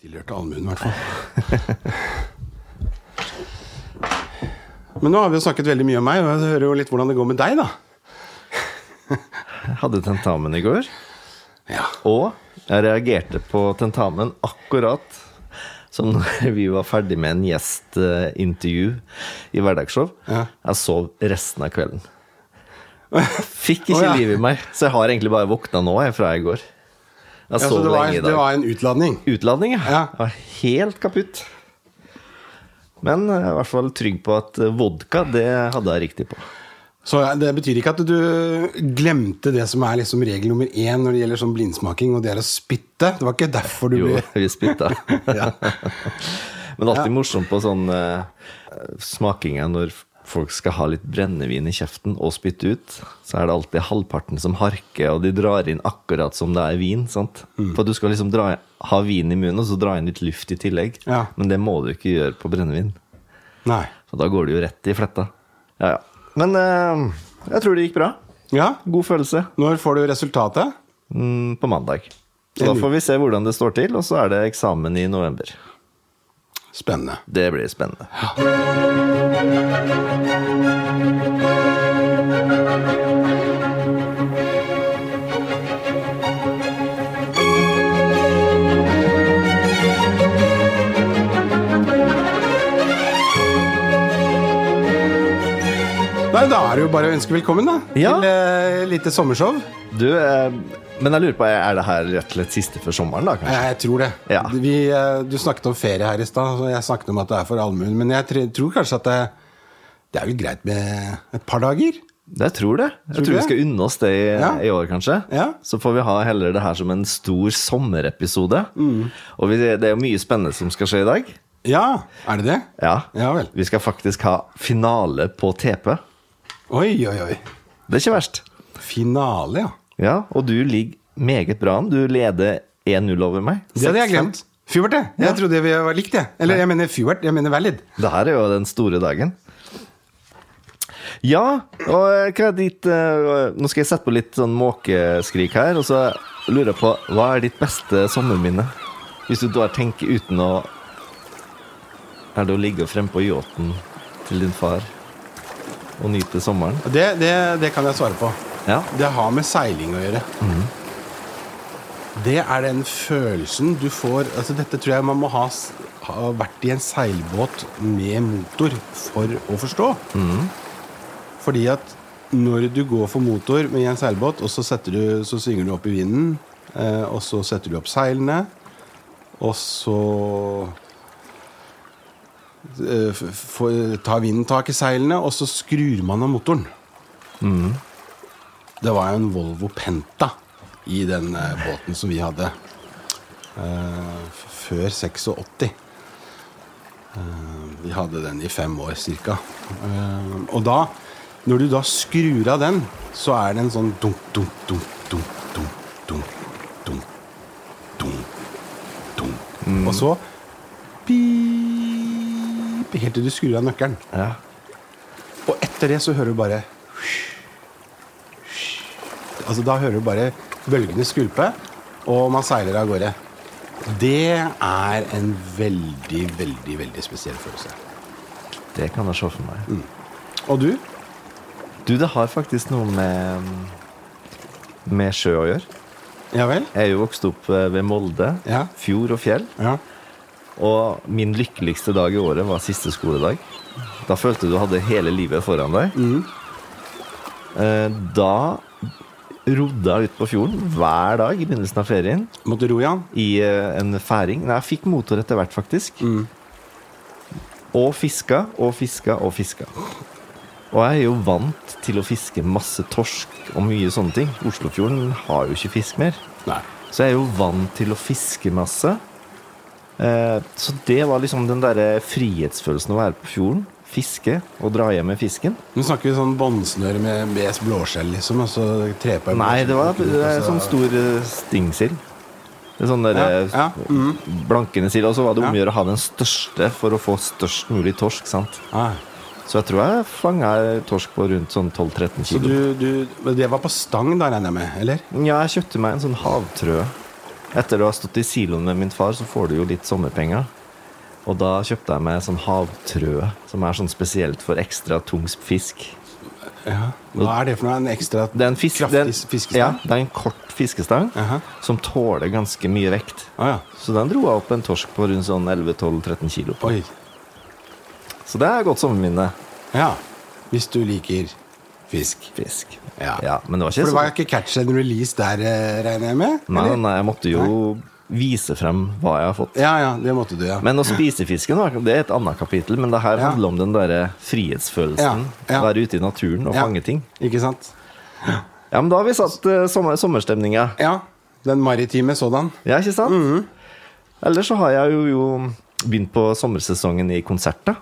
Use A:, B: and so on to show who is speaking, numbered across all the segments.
A: Tilhørte allmuen, i hvert fall. Men nå har vi jo snakket veldig mye om meg, og jeg hører jo litt hvordan det går med deg, da.
B: Jeg hadde tentamen i går,
A: Ja.
B: og jeg reagerte på tentamen akkurat som når vi var ferdig med en gjestintervju i Hverdagsshow.
A: Ja.
B: Jeg sov resten av kvelden. Fikk ikke
A: Å, ja.
B: liv i meg, så jeg har egentlig bare våkna nå jeg, fra i går. Jeg
A: Ja, så
B: sov
A: det var,
B: lenge i
A: det
B: dag.
A: var en utladning.
B: Utladning, ja.
A: Ja.
B: Jeg var helt kaputt. Men jeg er i hvert fall trygg på at eh, vodka, det hadde jeg riktig på.
A: Så det betyr ikke at du glemte det som er liksom regel nummer én når det gjelder sånn blindsmaking, og det er å spytte. Det var ikke derfor du
B: Jo,
A: ble
B: vi spytta.
A: Ja.
B: Men alltid morsomt på sånn eh, smakinger når folk skal ha litt brennevin i kjeften og spytte ut. Så er det alltid halvparten som harker, og de drar inn akkurat som det er vin. sant? For du skal liksom dra, ha vin i munnen, og så dra inn litt luft i tillegg.
A: Ja.
B: Men det må du ikke gjøre på brennevin.
A: Nei.
B: Så da går det jo rett i fletta. Ja, ja. Men eh, jeg tror det gikk bra.
A: Ja,
B: God følelse
A: når får du resultatet?
B: mm, på mandag. Så da får vi se hvordan det står til, og så er det eksamen i november.
A: Spennende.
B: Det blir spennende.
A: Nei, da er det jo bare å ønske velkommen, da.
B: Ja.
A: Til eh, lite sommershow.
B: Du, eh, men jeg lurer på, er det her rett og slett siste for sommeren, da? kanskje?
A: Jeg, jeg tror det.
B: Ja.
A: Vi, eh, du snakket om ferie her i stad, og jeg snakket om at det er for allmuen. Men jeg tre- tror kanskje at det, det er vel greit med et par dager.
B: Jeg tror
A: Tror
B: det. Jeg
A: du
B: tror vi
A: det?
B: skal unne oss det i,
A: Ja.
B: i år, kanskje.
A: Ja.
B: Så får vi ha heller det her som en stor sommerepisode.
A: Mm.
B: Og vi, det er jo mye spennende som skal skje i dag.
A: Ja, er det det?
B: Ja.
A: Ja vel.
B: Vi skal faktisk ha finale på TP.
A: Oi, oi, oi.
B: Det er ikke verst.
A: Finale, ja.
B: Ja, og du ligger meget bra an. Du leder 1-0 over meg.
A: Det hadde jeg glemt. Fyvert, det. Jeg
B: Ja.
A: trodde vi var likt, jeg. Eller jeg mener fyvert, jeg mener valid.
B: Det her er jo den store dagen. Ja, og eh, hva er ditt eh, Nå skal jeg sette på litt sånn måkeskrik her, og så lurer jeg på Hva er ditt beste sommerminne? Hvis du da tenker uten å Er det å ligge frempå yachten til din far og nyte sommeren?
A: Det, det, det kan jeg svare på.
B: Ja.
A: Det har med seiling å gjøre. Det er den følelsen du får altså Dette tror jeg man må ha, s- ha vært i en seilbåt med motor for å forstå. Fordi at når du går for motor med i en seilbåt, og så, setter du, så svinger du opp i vinden, eh, og så setter du opp seilene, og så eh, f- får- tar vinden tak i seilene, og så skrur man av motoren. Det var jo en Volvo Penta i den eh, båten som vi hadde eh, f- før 86. Eh, vi hadde den i fem år cirka. Eh, og da, når du da skrur av den, så er det en sånn dunk, dunk, dunk, dunk, dunk, dunk, dunk, dunk, dunk. Og så pip, helt til du skrur av nøkkelen.
B: ja.
A: Og etter det så hører du bare Altså Da hører du bare bølgene skvulpe, og man seiler av gårde. Det er en veldig, veldig veldig spesiell følelse.
B: Det kan jeg se for meg.
A: Og du?
B: Du, det har faktisk noe med med sjø å gjøre.
A: Ja vel?
B: Jeg er jo vokst opp eh, ved Molde.
A: Ja.
B: Fjord og fjell.
A: Ja.
B: Og min lykkeligste dag i året var siste skoledag. Da følte du hadde hele livet foran deg.
A: Mm.
B: Eh, Da rodde jeg ut på fjorden hver dag i begynnelsen av ferien
A: Måtte du ro, Jan?
B: i eh, en færing. Nei, jeg fikk motor etter hvert, faktisk. Og fiska og fiska og fiska. Og jeg er jo vant til å fiske masse torsk og mye sånne ting. Oslofjorden har jo ikke fisk mer.
A: Nei.
B: Så jeg er jo vant til å fiske masse. Eh, Så det var liksom den derre frihetsfølelsen å være på fjorden. Fiske og dra hjem med fisken.
A: Nå snakker vi sånn båndsnøre med BS blåskjell, liksom. Og så trepa
B: Nei, det var det er sånn stor eh, stingsild. Det er Sånn der
A: Ja, Mm. ja,
B: eh, blankende sild. Og så var det om å
A: Ja.
B: gjøre å ha den største for å få størst mulig torsk. sant?
A: ah,
B: Så jeg tror jeg fanga torsk på rundt sånn 12-13
A: Så
B: kilo.
A: du, du men Det var på stang, da, regner jeg med? Eller?
B: Ja, jeg kjøpte meg en sånn havtrøe. Etter å ha stått i siloen med min far, så får du jo litt sommerpenger. Og da kjøpte jeg meg sånn havtrøe, som er sånn spesielt for ekstra tung fisk.
A: Ja. Hva er det for noe? En ekstra
B: Det er en fisk,
A: kraftig
B: det er, en-
A: fiskestang?
B: Ja, det er en kort fiskestang
A: Aha.
B: som tåler ganske mye vekt.
A: Å, Ah, ja.
B: Så den dro jeg opp en torsk på rundt sånn 11-12-13 kilo. på.
A: Oi.
B: Så det er godt sommerminne.
A: Ja. Hvis du liker fisk.
B: Fisk.
A: Ja.
B: men det var ikke
A: For det
B: så
A: var ikke catch and release der, eh, regner jeg med?
B: Nei,
A: eller?
B: nei, jeg måtte jo vise frem hva jeg har fått.
A: Ja, ja, det måtte du, ja.
B: Men å spise fisken var- det er et annet kapittel, men det her
A: Ja.
B: handler om den derre frihetsfølelsen.
A: Ja, ja.
B: Være ute i naturen og
A: Ja.
B: fange ting.
A: Ikke sant?
B: Ja, men da har vi satt eh, sommer, sommerstemninga.
A: Ja. Den maritime sådan.
B: Ja, ikke sant?
A: Mm-hmm.
B: Ellers så har jeg jo, jo begynt på sommersesongen i konserter.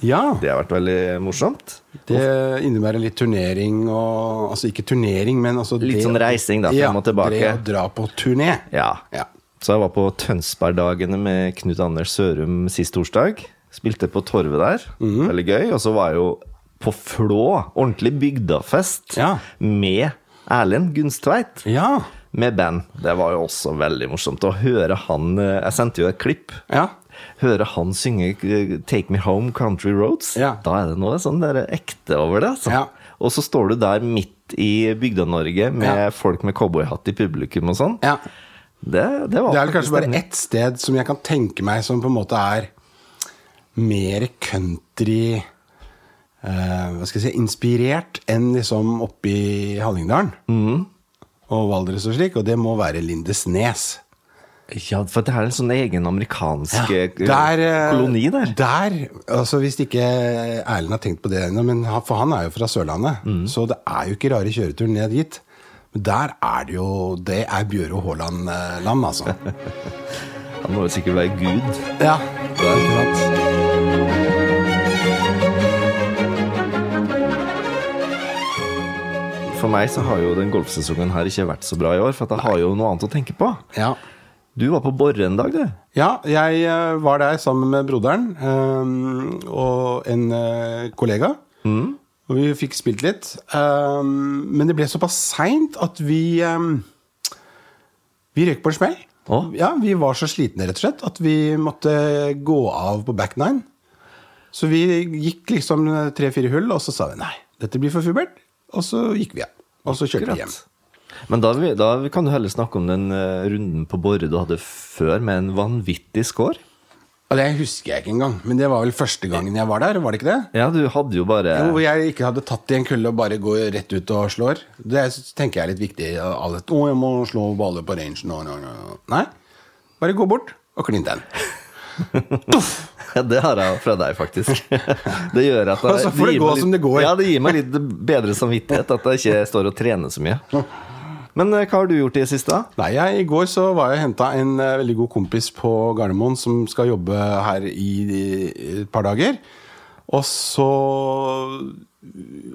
A: Ja.
B: Det har vært veldig morsomt.
A: Det innebærer litt turnering og Altså ikke turnering, men altså
B: Litt sånn reising, da, frem og tilbake.
A: Det å dra på turné.
B: Ja.
A: Ja.
B: Så jeg var på Tønsbergdagene med Knut Anders Sørum sist torsdag. Spilte på Torvet der.
A: Mm-hmm.
B: Veldig gøy. Og så var jeg jo på Flå, ordentlig bygdafest,
A: Ja.
B: med Erlend Gunstveit.
A: Ja.
B: Med band. Det var jo også veldig morsomt å høre han eh, Jeg sendte jo et klipp.
A: ja.
B: Høre han synge eh, 'Take Me Home Country Roads',
A: Ja.
B: da er det noe sånn der ekte over det. Altså.
A: Ja.
B: Og så står du der midt i Bygda-Norge med
A: Ja.
B: folk med cowboyhatt i publikum og sånn.
A: ja.
B: Det, det var
A: Det er vel
B: faktisk
A: kanskje bare
B: stemning.
A: ett sted som jeg kan tenke meg som på en måte er mer country eh, Hva skal jeg si inspirert enn liksom oppe i Hallingdalen
B: Mhm.
A: og Valdres og slik, og det må være Lindesnes.
B: Ja, for det er en sånn egen amerikansk eh,
A: Der, eh,
B: koloni der.
A: Der, altså Hvis ikke Erlend har tenkt på det ennå, men han- for han er jo fra Sørlandet,
B: Mhm.
A: så det er jo ikke rare kjøreturen ned dit. Men der er det jo Det er Bjøro Haaland-land, altså.
B: Han må jo sikkert være gud.
A: Ja.
B: Der, ikke sant? For meg så har jo den golfsesongen her ikke vært så bra i år, for at jeg har jo noe annet å tenke på.
A: ja.
B: Du var på Borre en dag, du.
A: Ja, jeg eh, var der sammen med broderen ehm, og en eh, kollega.
B: Mm.
A: Og vi fikk spilt litt. Ehm, men det ble såpass seint at vi ehm, Vi røyk på en smell.
B: Å?
A: Ja, vi var så slitne rett og slett at vi måtte gå av på back nine. Så vi gikk liksom tre-fire hull, og så sa vi nei, dette blir for fubert. Og så gikk vi av. Og så kjørte vi hjem.
B: Akkurat. Men da, vi- da kan du heller snakke om den eh, runden på Borre du hadde før, med en vanvittig score.
A: Og det husker jeg ikke engang, men det var vel første gangen jeg var der, var det ikke det?
B: Ja, du hadde jo bare
A: Jo, hvor jeg ikke hadde tatt i en kulle og bare går rett ut og slår. Det er- tenker jeg er litt viktig. Alle, å, jeg må slå baller på range nå, nå, nå. Nei, bare gå bort og klin den.
B: Ja, Det har jeg fra deg, faktisk. Det gjør
A: Og
B: at jeg,
A: så Altså, får det
B: gir
A: gå
B: meg litt,
A: som det går.
B: Ja, det gir meg litt bedre samvittighet at jeg ikke står og trener så mye. Men eh, hva har du gjort i det siste? da?
A: Nei, jeg, I går så var jeg henta en eh, veldig god kompis på Gardermoen som skal jobbe her i, i et par dager. Og så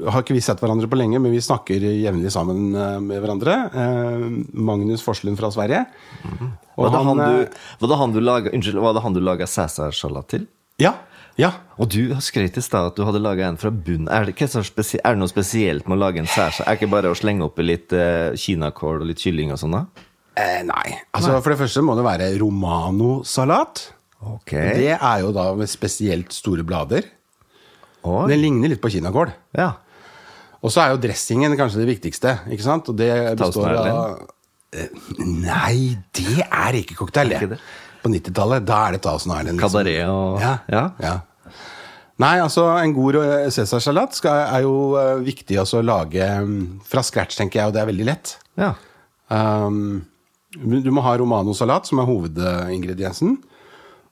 A: har ikke vi sett hverandre på lenge, men vi snakker jevnlig sammen eh, med hverandre. Eh, Magnus Forslund fra Sverige. Og
B: Mhm. Var det han,
A: eh,
B: du, var det han du laga Unnskyld, var det han du laga Cæsarsalat til?
A: Ja, ja.
B: Og du skrøt i stad at du hadde laga en fra bunnen. Er det, ikke så spesi er det noe spesielt med å lage en særsalat? Er det ikke bare å slenge oppi litt eh, kinakål og litt kylling og sånn, da?
A: Eh, nei. Altså, For det første må det være romanosalat.
B: Ok.
A: Det er jo da med spesielt store blader.
B: Oi.
A: Den ligner litt på kinakål.
B: ja.
A: Og så er jo dressingen kanskje det viktigste. ikke sant? Og det består av
B: Thousand
A: Eh, Nei, det er ikke cocktail,
B: ikke
A: det.
B: det?
A: På 90-tallet, da er det Thousand Island. liksom.
B: Kabaret og
A: Ja.
B: ja.
A: ja. Nei, altså, en god eh, cæsarsalat skal- er jo eh, viktig også å lage mm, fra scratch, tenker jeg, og det er veldig lett.
B: ja.
A: Um, du må ha romanosalat, som er hovedingrediensen.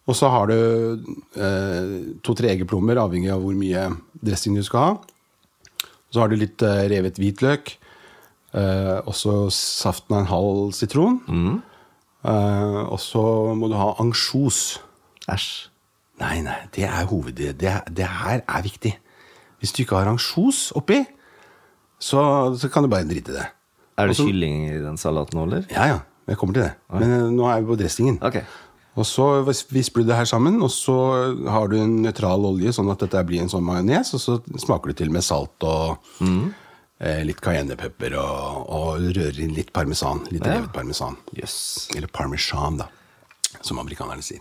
A: Og så har du eh, to-tre eggeplommer, avhengig av hvor mye dressing du skal ha. Så har du litt eh, revet hvitløk. Eh, og så saften av en halv sitron. Eh, og så må du ha ansjos.
B: Æsj.
A: Nei, nei, det er hoved... Det, det her er viktig. Hvis du ikke har ansjos oppi, så, så kan du bare drite i det.
B: Er det
A: Og så-
B: kylling i den salaten nå, eller?
A: Ja, ja. Jeg kommer til det. Men eh, nå er vi på dressingen.
B: Ok.
A: Og så vis- visper du det her sammen, og så har du
B: Mm.
A: en nøytral olje, sånn at dette blir en sånn majones, og så smaker du til med salt og eh, litt cayennepepper og, og rører inn litt parmesan. Litt
B: Ja.
A: revet parmesan.
B: Jøss.
A: Eller parmesan, da, som amerikanerne sier.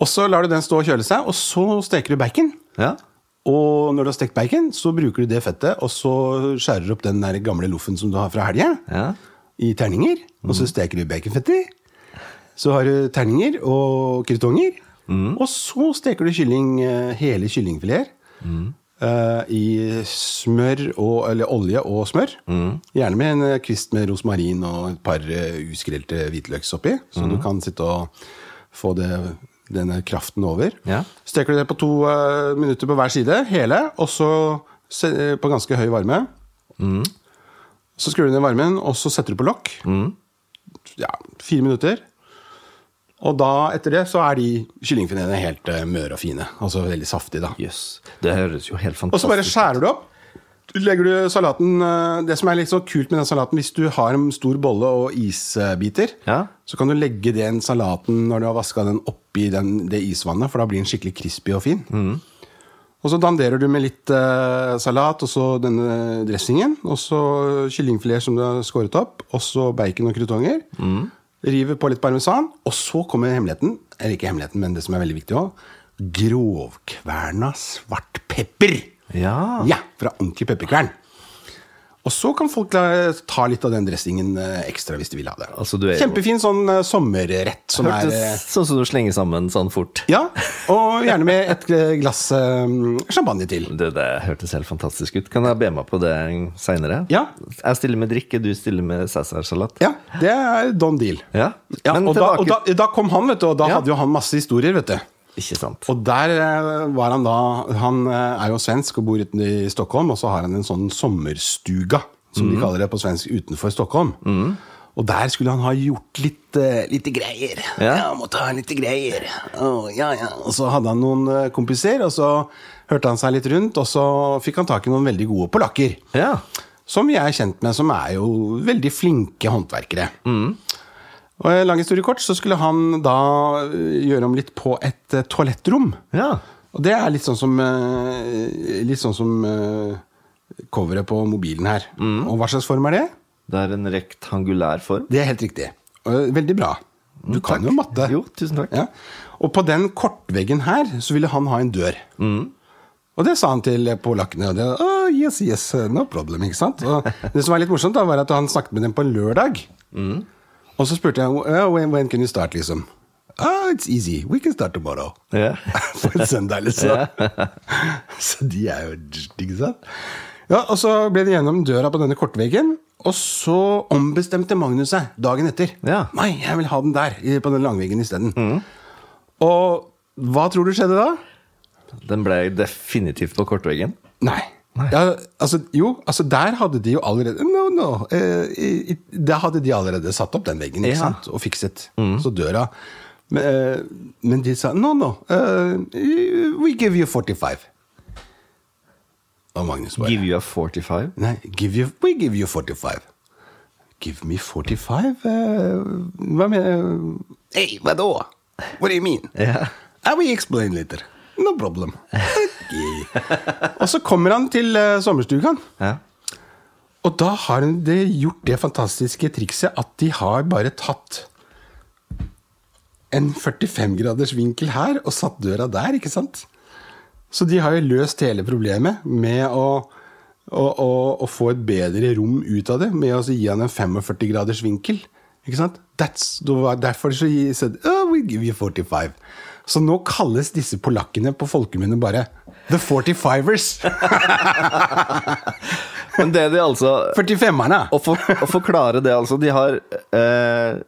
A: Og så lar du den stå og kjøle seg, og så steker du bacon.
B: Ja.
A: Og når du har stekt bacon, så bruker du det fettet, og så skjærer du opp den der gamle loffen som du har fra helga,
B: Ja.
A: i terninger. Og så steker du baconfett i. Så har du terninger og krutonger. Og så steker du kylling, eh, hele kyllingfileter eh, i smør og, eller olje og smør. Gjerne med en eh, kvist med rosmarin og et par eh, uskrelte hvitløks oppi, så du kan sitte og få det, denne kraften over.
B: Ja.
A: Steker du det på to eh, minutter på hver side, hele, og så se, eh, på ganske høy varme. Så skrur du ned varmen, og så setter du på lokk. Ja, fire minutter. Og da, etter det, så er de kyllingfiletene helt eh, møre og fine. Altså veldig saftige, da.
B: Jøss. Det høres jo helt
A: Og så
B: fantastisk
A: bare skjærer du opp. Legger du salaten eh, Det som er litt så kult med den salaten, hvis du har en stor bolle og isbiter,
B: Ja.
A: så kan du legge den salaten når du har vaska den oppi den, det isvannet, for da blir den skikkelig crispy og fin.
B: Mm.
A: Og så danderer du med litt eh, salat og så denne dressingen. Og så kyllingfileter som du har skåret opp. Og så bacon og krutonger.
B: Mm.
A: River på litt parmesan. Og så kommer hemmeligheten. Eller ikke hemmeligheten, men det som er veldig viktig òg. Grovkverna svart pepper!
B: Ja.
A: Ja, fra ordentlig pepperkvern. Og så kan folk la- ta litt av den dressingen eh, ekstra hvis de vil ha det.
B: Altså, du er jo-
A: Kjempefin sånn eh, sommerrett som er
B: Hørtes
A: eh,
B: sånn som du slenger sammen sånn fort.
A: Ja, og gjerne med et eh, glass eh, champagne til.
B: Det, det hørtes helt fantastisk ut. Kan jeg be meg på det seinere?
A: Ja.
B: Jeg stiller med drikke, du stiller med cæsarsalat.
A: Ja, det er don deal.
B: Ja.
A: Ja,
B: Men
A: og da, og
B: tilbake-
A: da, da kom han, vet du, og da
B: Ja.
A: hadde jo han masse historier, vet du.
B: Ikke sant.
A: Og der eh, var han da Han eh, er jo svensk og bor uten i Stockholm, og så har han en sånn sommerstuga, som de kaller det på svensk, utenfor Stockholm. Og der skulle han ha gjort litt, eh, litt greier.
B: Ja.
A: Ja, måtte ha litt greier. Å, ja, ja. Og så hadde han noen eh, kompiser, og så hørte han seg litt rundt, og så fikk han tak i noen veldig gode polakker.
B: Ja.
A: Som vi er kjent med, som er jo veldig flinke håndverkere. Og eh, lang historie kort, så skulle han da eh, gjøre om litt på et eh, toalettrom.
B: ja.
A: Og det er litt sånn som eh, Litt sånn som eh, coveret på mobilen her. Og hva slags form er det?
B: Det er en rektangulær form.
A: Det er helt riktig. Eh, Veldig bra. Du kan jo matte.
B: Jo, tusen takk.
A: Ja. Og på den kortveggen her så ville han ha en dør. Og det sa han til polakkene. Og det, oh, yes, yes, no problem, ikke sant? Og det som var litt morsomt, da, var at han snakket med dem på lørdag. Og så spurte jeg «Oh, when, when can you start, liksom. Oh, it's easy. We can start tomorrow.
B: Ja.
A: På en søndag, liksom. så de er jo Ikke sant? Ja, Og så ble de gjennom døra på denne kortveggen. Og så ombestemte Magnus seg dagen etter.
B: Ja.
A: Nei, jeg vil ha den der, i- på den langveggen isteden. Og hva tror du skjedde da?
B: Den ble definitivt på kortveggen.
A: Nei. Ja, altså, jo, altså der hadde de jo allerede No, no. Eh, i- i- der hadde de allerede satt opp den veggen ikke
B: Ja.
A: sant? og fikset. Så døra men, eh, men de sa no, no. eh, we give you 45. Og Magnus bare
B: Give you a 45.
A: Nei, give you, we give you 45. Give me 45? eh, hva eh, mener Hei, hva da? What do you mean?
B: Ja.
A: I will explain later. No problem. Okay. og så kommer han til eh, sommerstugan,
B: Ja.
A: og da har han det, gjort det fantastiske trikset at de har bare tatt en 45 graders vinkel her og satt døra der, ikke sant? Så de har jo løst hele problemet med å, å, å, å få et bedre rom ut av det, med å gi han en 45 graders vinkel. Ikke sant? That's, det var derfor så gi- said, oh, we give you 45. Så nå kalles disse polakkene på folkemunne bare The 45ers.
B: Men det de altså
A: 45-erne.
B: å, for, å forklare det, altså. De har eh,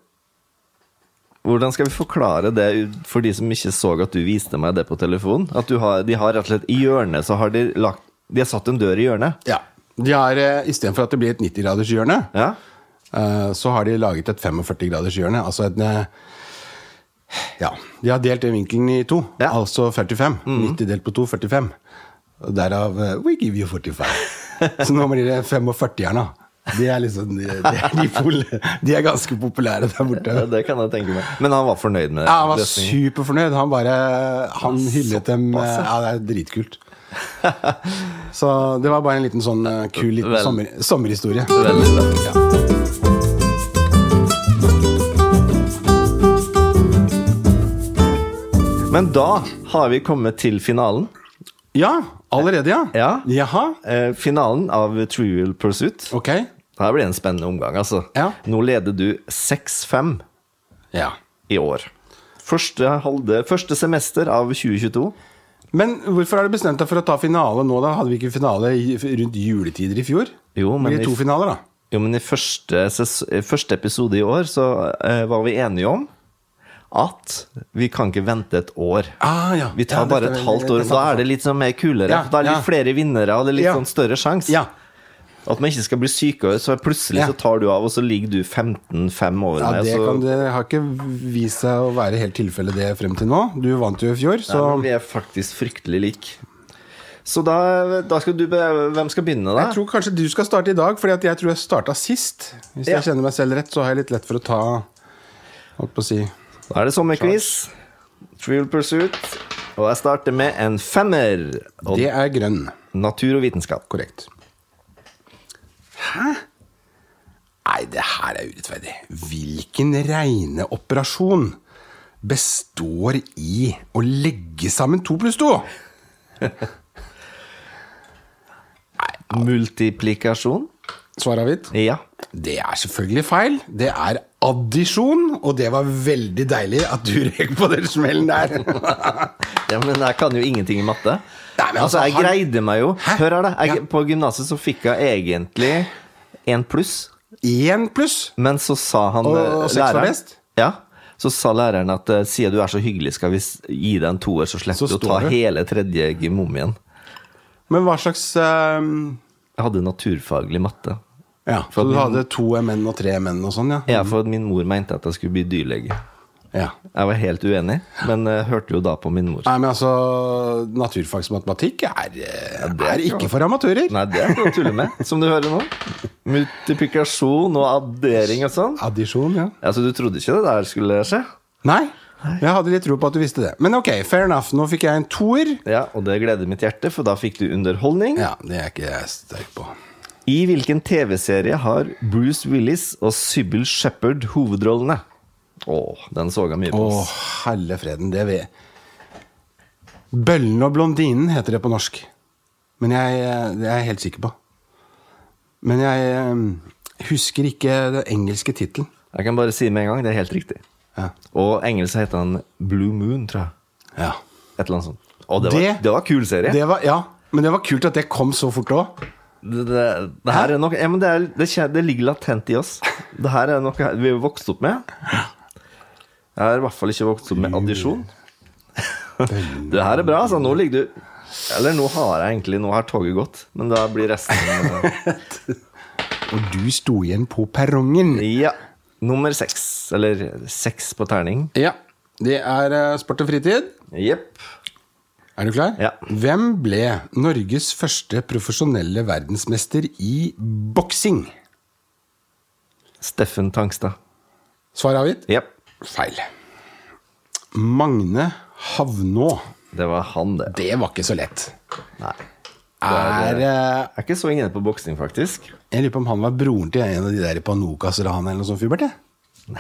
B: Hvordan skal vi forklare det for de som ikke så at du viste meg det på telefon? At du har, de har rett og slett I hjørnet så har de lagt De har satt en dør i hjørnet.
A: Ja. De har, eh, Istedenfor at det blir et 90-graders hjørne,
B: Ja.
A: eh, så har de laget et 45-graders hjørne. Altså et eh, Ja. De har delt den vinkelen i to.
B: Ja. Mhm.
A: Altså 45. 90 delt på 2, 45. Og derav eh, We give you 45. så nå blir det 45-jerna. De er liksom de, de, er de, pol, de er ganske populære der borte.
B: Ja, Det kan jeg tenke meg. Men han var fornøyd med
A: Ja, han var
B: løsningen.
A: superfornøyd. Han bare Han hyllet dem. eh,
B: Såpass,
A: Ja, det er dritkult. Så det var bare en liten sånn eh, kul liten
B: Vel.
A: sommer, sommerhistorie.
B: Veldig bra. Men da har vi kommet til finalen.
A: Ja, allerede, ja?
B: Ja.
A: Jaha.
B: Eh, finalen av Trivial Pursuit.
A: Ok.
B: Her blir det en spennende omgang, altså.
A: Ja.
B: Nå leder du 6-5
A: Ja.
B: i år. Første, halvde, første semester av 2022.
A: Men hvorfor har du bestemt deg for å ta finale nå, da? Hadde vi ikke finale i, rundt juletider i fjor?
B: Jo, men
A: Blir
B: i-
A: det to finaler, da?
B: Jo, men i første, ses- eh, første episode i år så eh, var vi enige om at vi kan ikke vente et år.
A: Ah, ja.
B: Vi tar
A: Ja,
B: bare
A: dette
B: et
A: er-
B: halvt år.
A: dette er altså.
B: Da er det litt sånn mer kulere.
A: Ja,
B: da er det litt
A: ja.
B: flere vinnere, og det er litt
A: Ja.
B: sånn større sjanse.
A: Ja.
B: At man ikke skal bli syke, og så plutselig
A: Ja.
B: så tar du av, og så ligger du 15-5 over
A: Ja,
B: meg.
A: det,
B: og så...
A: kan, det har ikke vist seg å være helt tilfellet det frem til nå. Du vant jo i fjor, så
B: Nei, men vi er faktisk fryktelig like. Så da, da skal du be- Hvem skal begynne, da?
A: jeg tror kanskje du skal starte i dag, Fordi at jeg tror jeg starta sist. Hvis
B: Ja.
A: jeg kjenner meg selv rett, så har jeg litt lett for å ta Holdt på å si
B: Da er det sommerquiz. Trivial Pursuit. Og jeg starter med en femmer. Og
A: Det er grønn.
B: natur og vitenskap.
A: Korrekt. Hæ? Nei, det her er urettferdig. Hvilken regneoperasjon består i å legge sammen to pluss to?
B: Multiplikasjon.
A: Svaret avgitt?
B: Ja.
A: Det er selvfølgelig feil. Det er addisjon, og det var veldig deilig at du røk på den smellen der.
B: ja. Men jeg kan jo ingenting i matte.
A: Nei, men
B: altså,
A: altså,
B: jeg
A: han-
B: greide meg jo.
A: Hæ?
B: Hør her, da. Jeg,
A: Ja.
B: På gymnaset så fikk jeg egentlig én pluss.
A: Én pluss.
B: Men så sa han
A: Og-
B: eh,
A: og seks var best?
B: Ja. Så sa læreren at eh, siden du er så hyggelig, skal vi s- gi deg en toer, så
A: Så
B: slipper du å ta
A: står det.
B: hele tredje gym om igjen.
A: Men hva slags ehm,
B: Jeg hadde naturfaglig matte.
A: Ja, så du hadde to menn og tre menn og sånn, ja?
B: Ja, for at min mor mente at jeg skulle bli dyrlege.
A: ja.
B: Jeg var helt uenig, men eh, hørte jo da på min mor.
A: Nei, men altså, naturfagsmatematikk er, eh, er ikke for amatører.
B: Nei, det er ikke noe å tulle med, som du hører nå. Multiplikasjon og addering og sånn.
A: Addisjon, ja.
B: Altså, du trodde ikke det der skulle skje?
A: Nei, jeg hadde litt tro på at du visste det. Men ok, fair enough. Nå fikk jeg en toer.
B: Ja, og det gleder mitt hjerte, for da fikk du underholdning.
A: Ja, det er ikke jeg sterk på.
B: I hvilken TV-serie har Bruce Willis og Sybil Shepherd hovedrollene? Å, den så jeg mye på.
A: Å,
B: ass.
A: helle freden, det vet Bøllen og blondinen heter det på norsk. Men jeg, eh, det er jeg helt sikker på. Men jeg eh, husker ikke den engelske tittelen.
B: Jeg kan bare si med en gang, det er helt riktig.
A: Ja.
B: Og engelsk heter han Blue Moon, tror jeg.
A: ja.
B: Et eller annet sånt. Å, det var, det,
A: Det-
B: var kul serie.
A: Det var, ja, men det var kult at det kom så fort òg.
B: Det, det, det her er nok ja, men det, er, det, kje- det ligger latent i oss. Det her er noe vi har vokst opp med. Jeg har i hvert fall ikke vokst opp med addisjon. Det her er bra, altså. Nå ligger du Eller nå har jeg egentlig Nå har toget gått, men da blir resten
A: Og du sto igjen på perrongen.
B: Ja. Nummer seks. Eller seks på terning.
A: Ja. Det er eh, sport og fritid.
B: Jepp.
A: Er du klar?
B: Ja.
A: Hvem ble Norges første profesjonelle verdensmester i boksing?
B: Steffen Tangstad.
A: Svar avgitt?
B: Jepp.
A: Feil. Magne Havnå.
B: Det var han, det.
A: Det var ikke så lett.
B: Nei.
A: Er eh,
B: Jeg er ikke så inne på boksing, faktisk.
A: Jeg lurer på om han var broren til en av de der Panukas-ranet eller noe sånt, Hubert? jeg.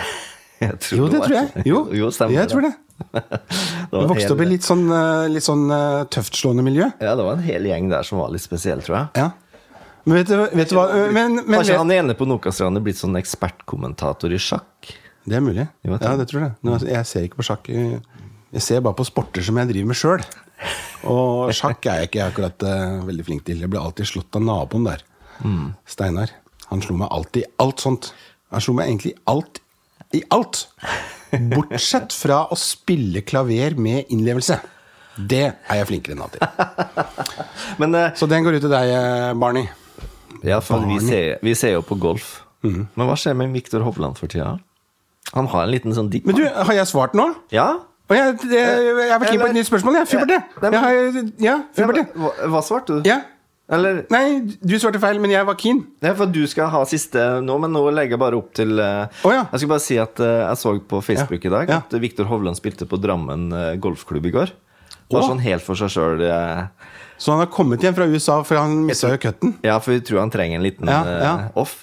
B: Jeg tror
A: Jo, det
B: var-
A: tror jeg. Jo,
B: jo stemmer
A: jeg tror det.
B: Det
A: Du
B: var en
A: vokste opp i
B: hel-
A: litt sånn, eh, litt sånn eh, tøftslående miljø.
B: Ja, det var en hel gjeng der som var litt spesiell, tror jeg.
A: Ja. Men vet du, vet du hva ø, Men, Eh, men
B: Har ikke han
A: vet,
B: ene på Nokastrand blitt sånn ekspertkommentator i sjakk?
A: det er mulig.
B: Jo, jeg tror
A: Ja, det tror jeg. Nå, altså, jeg ser ikke på sjakk. ø, Jeg ser bare på sporter som jeg driver med sjøl. Og sjakk er jeg ikke akkurat ø, veldig flink til. Jeg ble alltid slått av naboen der. Mm. Steinar. Han slo meg alltid i alt sånt. Han slo meg egentlig i alt i alt. Bortsett fra å spille klaver med innlevelse. Det er jeg flinkere enn han til.
B: Men eh,
A: Så den går ut til deg, ø, Barney.
B: ja, for vi, ser, vi ser jo på golf.
A: Mm.
B: Men hva skjer med Viktor Hovland for tida? Han har en liten sånn dipp.
A: Men du, har jeg svart nå?
B: Ja?
A: Og jeg, det, jeg var keen på et nytt spørsmål, jeg. Fubert,
B: Nei,
A: jeg.
B: men-
A: jeg. har- Ja, Fubert, jeg.
B: hva, hva svarte du?
A: Ja.
B: Eller
A: Nei, du svarte feil, men jeg var keen.
B: Det er for at du skal ha siste nå, men nå legger jeg bare opp til eh,
A: Å, ja.
B: Jeg skal bare si at eh, jeg så på Facebook
A: Ja.
B: i dag
A: Ja.
B: at Viktor Hovland spilte på Drammen eh, golfklubb i går. Bare sånn helt for seg eh, sjøl.
A: Så han har kommet hjem fra USA, for han mista jo cutten.
B: Ja, for vi tror han trenger en liten
A: Ja, ja.
B: eh, off.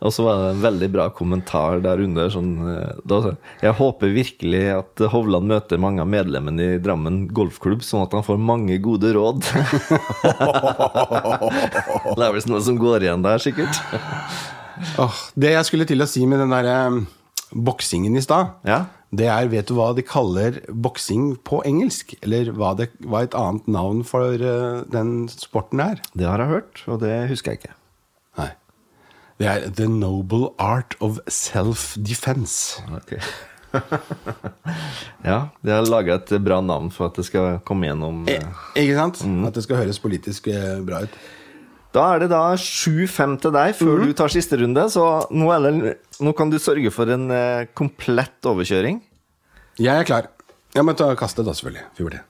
B: Og så var det en veldig bra kommentar der under. Sånn, eh, da, sa han, jeg håper virkelig at Hovland møter mange av medlemmene i Drammen golfklubb, sånn at han får mange gode råd. det er visst noe som går igjen der, sikkert.
A: Åh, det jeg skulle til å si med den der eh, boksingen i stad,
B: Ja.
A: det er Vet du hva de kaller boksing på engelsk? Eller hva, det, hva et annet navn for eh, den sporten er?
B: Det har jeg hørt, og det husker jeg ikke.
A: Nei. Det er The Noble Art of Self-Defense.
B: ja, de har laga et bra navn for at det skal komme gjennom.
A: Eh,
B: eh,
A: Ikke sant? At det skal høres politisk eh, bra ut.
B: Da er det da 7-5 til deg før du tar siste runde, så nå, er det, nå kan du sørge for en eh, komplett overkjøring.
A: Jeg er klar. Jeg må ta kaste, da, selvfølgelig. Fiberté.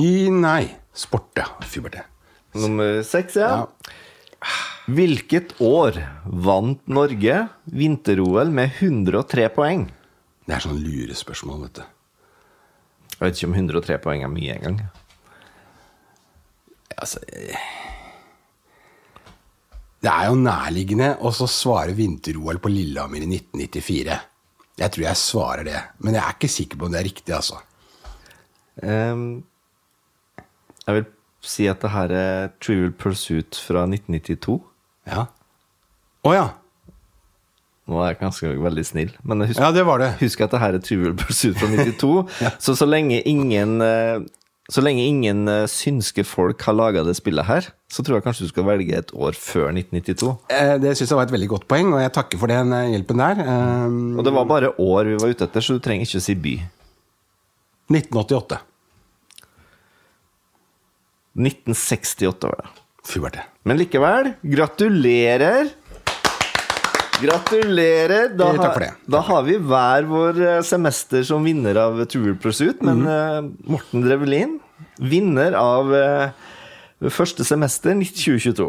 A: I nei. Sport, ja. Fiberté.
B: Nummer 6, ja.
A: Ja.
B: Hvilket år vant Norge vinter-OL med 103 poeng?
A: Det er sånn lurespørsmål, vet du.
B: Jeg vet ikke om 103 poeng er mye engang.
A: Altså eh, Det er jo nærliggende å så svare vinter-OL på Lillehammer i 1994. Jeg tror jeg svarer det, men jeg er ikke sikker på om det er riktig, altså.
B: Ehm, jeg vil si at det her er Trivial Pursuit fra 1992.
A: Ja. Å ja.
B: Nå er jeg ganske veldig snill, men jeg husker
A: Ja, det var det.
B: Husk at det her er Trivial Pursuit fra 92. Så så lenge ingen eh, Så lenge ingen eh, synske folk har laga det spillet her, så tror jeg kanskje du skal velge et år før 1992.
A: Eh, Det syns jeg var et veldig godt poeng, og jeg takker for den eh, hjelpen der.
B: Og det var bare år vi var ute etter, så du trenger ikke å si by.
A: Eh, 1988.
B: 1968 var det.
A: Fy var det.
B: Men likevel, gratulerer! Gratulerer! Da,
A: Eh, takk
B: har-
A: for det.
B: da har vi hver vår eh, semester som vinner av Truer Pursuit, men
A: Mhm.
B: eh, Morten Drevelin, vinner av eh, første semester 2022.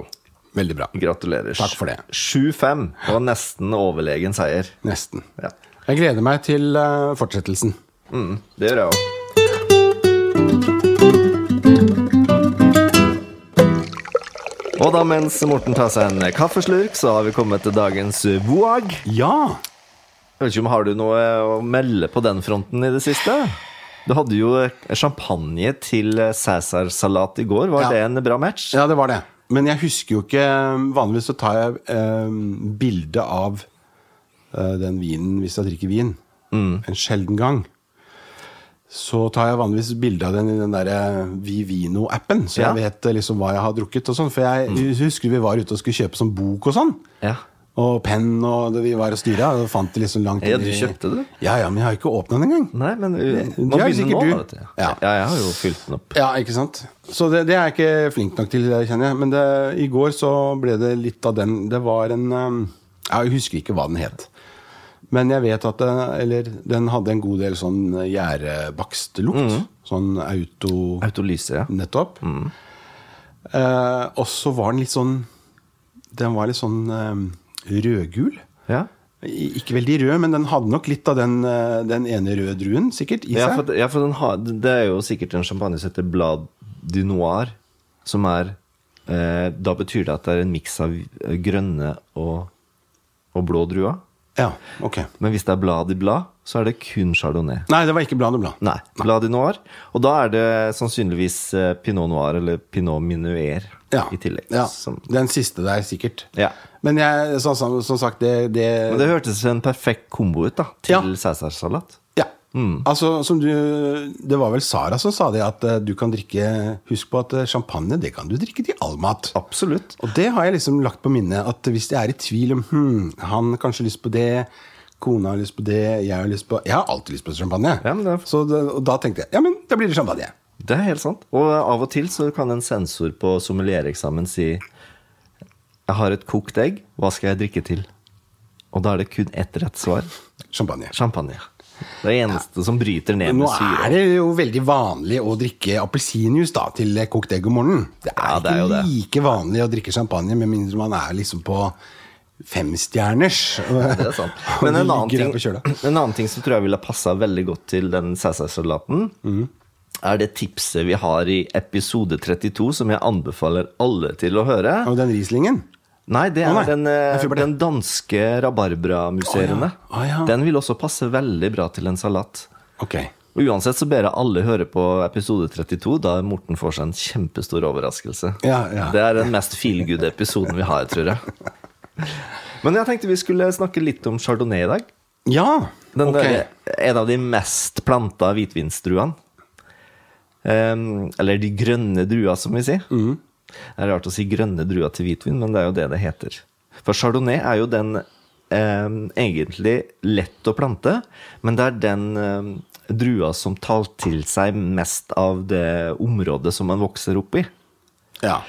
A: Veldig bra.
B: Gratulerer.
A: Takk for det.
B: 7-5. Det var nesten overlegen seier.
A: Nesten.
B: Ja.
A: Jeg gleder meg til eh, fortsettelsen.
B: Mm, det gjør jeg òg. Og da mens Morten tar seg en kaffeslurk, så har vi kommet til dagens voag.
A: Ja!
B: Jeg vet ikke om Har du noe å melde på den fronten i det siste? Du hadde jo champagne til Cæsarsalat i går. Var
A: Ja.
B: det en bra match?
A: Ja, det var det. Men jeg husker jo ikke Vanligvis så tar jeg eh, bilde av eh, den vinen hvis jeg drikker vin.
B: Mm.
A: En sjelden gang. Så tar jeg vanligvis bilde av den i den derre Vivino-appen, så
B: Ja. Mm.
A: jeg vet eh, liksom hva jeg har drukket og sånn. For jeg husker vi var ute og skulle kjøpe sånn bok og sånn.
B: Ja.
A: Og penn og det vi var og styra. Og fant det liksom langt
B: Ja,
A: inn
B: du
A: i-
B: kjøpte det?
A: Ja, ja, men jeg har ikke åpna den engang.
B: Nei, men uh,
A: du
B: man
A: er
B: begynner
A: sikkert
B: nå,
A: du.
B: vet du. Ja.
A: Ja.
B: jeg har jo fylt den opp.
A: Ja, ikke sant? Så det, det er jeg ikke flink nok til, kjenner jeg. Men det, i går så ble det litt av den Det var en um, Jeg husker ikke hva den het. Men jeg vet at det, eller, den hadde en god del sånn gjærebakstlukt.
B: Mm.
A: Sånn auto...
B: Autolyse, ja.
A: Nettopp.
B: Mm.
A: Eh, og så var den litt sånn Den var litt sånn um, rødgul.
B: Ja,
A: I- Ikke veldig rød, men den hadde nok litt av den, eh, den ene røde druen sikkert i seg.
B: ja for, ja, for den har, det er jo sikkert en champagne som heter Blad du Noir, som er eh, Da betyr det at det er en miks av eh, grønne og, og blå druer.
A: ja, ok.
B: Men hvis det er Blad i Blad, så er det kun chardonnay.
A: Nei, det var ikke Blad og Blad.
B: Nei, Blad du Noir. Og da er det sannsynligvis eh, pinot noir eller pinot minuer
A: Ja.
B: i tillegg.
A: Ja.
B: Som,
A: Den siste der, sikkert.
B: Ja.
A: Men jeg, som, som, som sagt, det, det,
B: men det hørtes en perfekt kombo ut da, til
A: Ja.
B: Cæsarsalat.
A: Ja.
B: Mm.
A: Altså, som du Det var vel Sara som sa det, at eh, du kan drikke Husk på at eh, champagne, det kan du drikke til all mat.
B: Absolutt.
A: Og det har jeg liksom lagt på minnet, at hvis jeg er i tvil om hm, han har kanskje lyst på det, kona har lyst på det, jeg har lyst på Jeg har alltid lyst på champagne.
B: Ja, men det er-
A: Så det, og da tenkte jeg ja, men da blir det champagne.
B: Det er helt sant. Og av og til så kan en sensor på sommeliereksamen si Jeg har et kokt egg, hva skal jeg drikke til? Og da er det kun ett rett svar.
A: Champagne.
B: Champagne. Det er eneste som bryter ned
A: Nå
B: med
A: er
B: syre.
A: det jo veldig vanlig å drikke appelsinjuice da, til kokt egg om morgenen. Det er,
B: Ja, det er jo
A: ikke
B: det.
A: like vanlig å drikke champagne, med mindre man er liksom på femstjerners.
B: Det er sant. Men en annen, ting,
A: På kjøla. Mm.
B: en annen ting som tror jeg ville passa veldig godt til den cæsarsalaten, er det tipset vi har i episode 32, som jeg anbefaler alle til å høre.
A: Og den Rieslingen?
B: Nei, det er
A: Å, nei.
B: Den, eh,
A: Jeg tror bare det.
B: den danske rabarbramusserende.
A: Å, ja. Å, ja.
B: Den vil også passe veldig bra til en salat.
A: Ok.
B: Og Uansett så ber jeg alle høre på episode 32, da Morten får seg en kjempestor overraskelse.
A: Ja, ja.
B: Det er den mest feelgood-episoden vi har, tror jeg. Men jeg tenkte vi skulle snakke litt om chardonnay i dag.
A: Ja!
B: Den
A: ok.
B: der, en av de mest planta hvitvinstruene. Em, Ehm, eller de grønne drua, som vi sier.
A: Mhm.
B: Det er rart å si grønne drua til hvitvin, men det er jo det det heter. For chardonnay er jo den em, egentlig lett å plante, men det er den em, drua som tar til seg mest av det området som man vokser opp i.
A: Ja.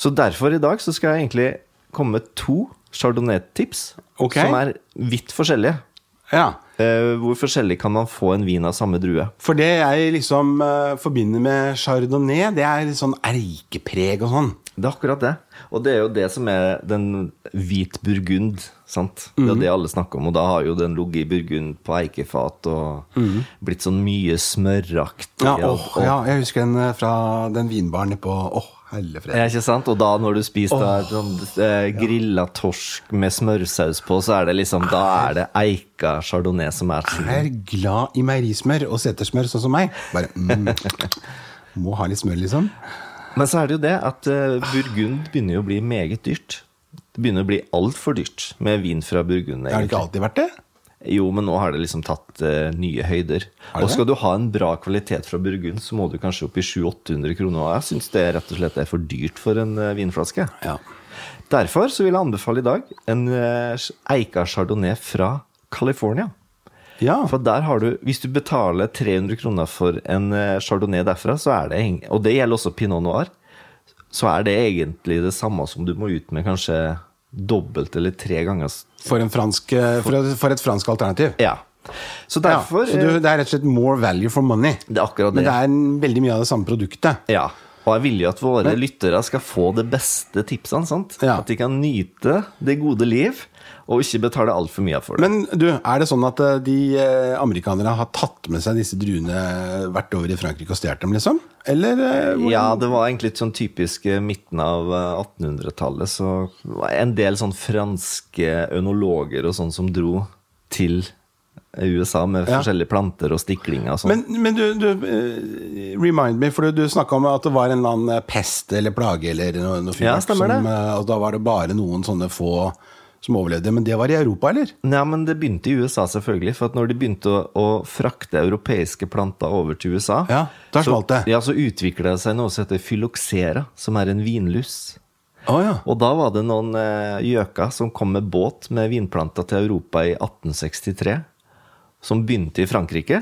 B: Så derfor i dag så skal jeg egentlig komme med to chardonnay-tips,
A: Ok.
B: som er vidt forskjellige.
A: ja.
B: Eh, hvor forskjellig kan man få en vin av samme drue?
A: For det jeg liksom eh, forbinder med chardonnay, det er litt sånn eikepreg og sånn.
B: Det er akkurat det. Og det er jo det som er den hvit burgund. sant? Det er det alle snakker om, og da har jo den ligget i burgund på eikefat og blitt sånn mye smøraktig.
A: Ja,
B: og-
A: åh, ja, jeg husker den eh, fra den vinbaren nede på Åh, hellefred.
B: Ja, ikke sant? Og da når du spiser da, sånn, eh, grilla torsk med smørsaus på, så er det liksom, da er det eika chardonnay som er sin
A: Jeg er glad i meierismør og setersmør, sånn som meg. Bare mm, Må ha litt smør, liksom.
B: Men så er det jo det at eh, Burgund begynner jo å bli meget dyrt. Det begynner å bli altfor dyrt med vin fra Burgund.
A: Har det
B: egentlig.
A: ikke alltid vært det?
B: Jo, men nå har det liksom tatt eh, nye
A: Har
B: høyder.
A: det
B: Og
A: det?
B: skal du ha en bra kvalitet fra Burgund, så må du kanskje opp i 700-800 kroner. Og jeg syns det rett og slett er for dyrt for en eh, vinflaske.
A: Ja.
B: Derfor så vil jeg anbefale i dag en eh, eika chardonnay fra California.
A: ja.
B: For der har du, Hvis du betaler 300 kroner for en eh, chardonnay derfra, så er det, eng- og det gjelder også pinot noir, så er det egentlig det samme som du må ut med kanskje dobbelt eller tre ganger. s-
A: For, en fransk, eh, for, for et fransk alternativ.
B: Ja. Så
A: Ja,
B: derfor
A: så du,
B: eh,
A: det er rett og slett more value for money.
B: Det er akkurat
A: Men
B: det.
A: det er en- veldig mye av det samme produktet.
B: Ja. Og jeg vil jo at våre lyttere skal få det beste tipsene. sant?
A: Ja.
B: At de kan nyte det gode liv, og ikke betale altfor mye for det.
A: Men du, er det sånn at eh, de eh, amerikanere har tatt med seg disse druene vært over i Frankrike og stjålet dem, liksom? Eller eh, hvor-
B: ja, det var egentlig et sånn typisk eh, midten av eh, 1800-tallet. Så var en del sånn franske ønologer og sånn som dro til eh, USA med
A: Ja.
B: forskjellige planter og stiklinger og sånn.
A: Men, men du, du eh, remind me, for du, du snakka om at det var en eller annen eh, pest eller plage eller noe, noe
B: Ja, stemmer
A: som,
B: det.
A: eh, Og da var det bare noen sånne få som overlevde. Men det var i Europa, eller?
B: Nei, men det begynte i USA, selvfølgelig. For at når de begynte å, å frakte europeiske planter over til USA,
A: Ja, da
B: så,
A: smalt det.
B: ja, så utvikla det seg noe som heter fyloxera, som er en vinlus.
A: Å ja.
B: Og da var det noen eh, gjøker som kom med båt med vinplanter til Europa i 1863, som begynte i Frankrike.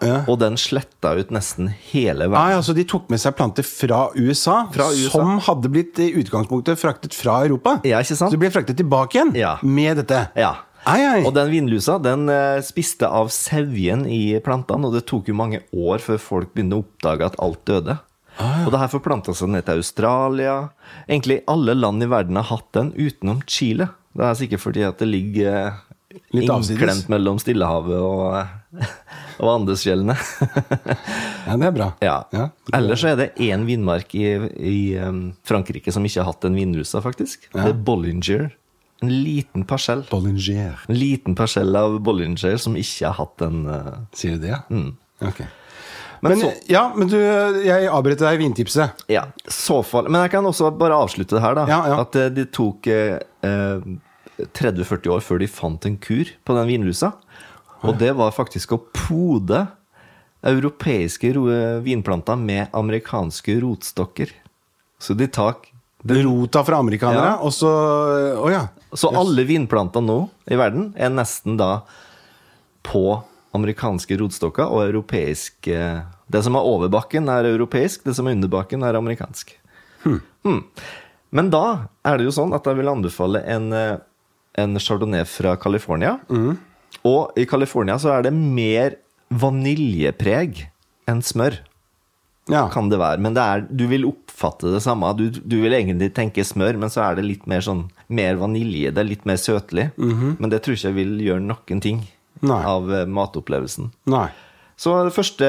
A: Ja.
B: Og den sletta ut nesten hele verden.
A: Ah, ja, så de tok med seg planter fra USA,
B: Fra USA.
A: som hadde blitt i utgangspunktet fraktet fra Europa.
B: Ja, ikke sant?
A: Så de ble fraktet tilbake igjen
B: Ja.
A: med dette.
B: Ja.
A: Ai, ai.
B: Og den vinlusa den eh, spiste av sevjen i plantene, og det tok jo mange år før folk begynte å oppdage at alt døde.
A: Ah,
B: Og det her forplanta seg ned til Australia. Egentlig alle land i verden har hatt den, utenom Chile. Det er sikkert fordi at det ligger eh,
A: Litt avsides.
B: innklemt mellom Stillehavet og, eh, og Andesfjellene.
A: Ja, det er bra.
B: ja.
A: Ja.
B: Ellers så er det én vinmark i, i eh, Frankrike som ikke har hatt en vinlusa, faktisk. Det er Bollinger. En liten parsell.
A: Bollinger.
B: En liten parsell av Bollinger som ikke har hatt en eh,
A: Sier du det, ja? Ok.
B: Men
A: Men,
B: så-
A: ja, men du, eh, jeg avbrøt deg i vintipset.
B: Ja, så fall. Men jeg kan også bare avslutte det her, da.
A: Ja, ja.
B: At eh, det tok eh, eh, 30-40 år før de fant en kur på den vinlusa. Og det var faktisk å pode europeiske ro vinplanter med amerikanske rotstokker. Så de tak
A: Rota fra amerikanere,
B: Ja.
A: og så eh, Å ja.
B: Så alle vinplanter nå i verden er nesten da på amerikanske rotstokker og europeisk eh, Det som er over bakken, er europeisk. Det som er under bakken, er amerikansk. Hmm. Men da er det jo sånn at jeg vil anbefale en, eh, en chardonnay fra California. Og i California så er det mer vaniljepreg enn smør
A: ja.
B: kan det være. Men det er, du vil oppfatte det samme. Du, du vil egentlig tenke smør, men så er det litt mer sånn mer vanilje. Det er litt mer søtlig. Men det tror ikke jeg vil gjøre noen ting
A: Nei.
B: av eh, matopplevelsen.
A: Nei.
B: Så det første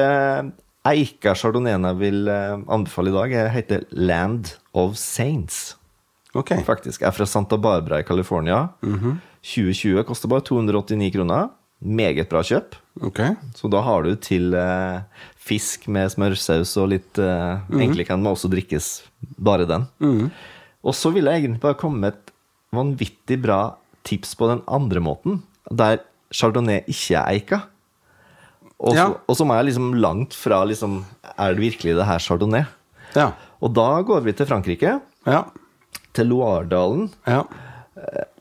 B: eika chardonnayen jeg vil eh, anbefale i dag, eh, heter Land of Saints.
A: Ok.
B: Faktisk. Jeg er fra Santa Barbara i California. 2020 koster bare 289 kroner. Meget bra kjøp.
A: ok.
B: Så da har du til eh, fisk med smørsaus og litt eh, Egentlig kan den også drikkes bare den. Og så vil jeg egentlig bare komme med et vanvittig bra tips på den andre måten, der chardonnay ikke er eika. Og,
A: Ja.
B: så, og som er liksom langt fra liksom Er det virkelig det her chardonnay?
A: Ja.
B: Og da går vi til Frankrike,
A: Ja.
B: til Loiredalen.
A: Ja.
B: eh,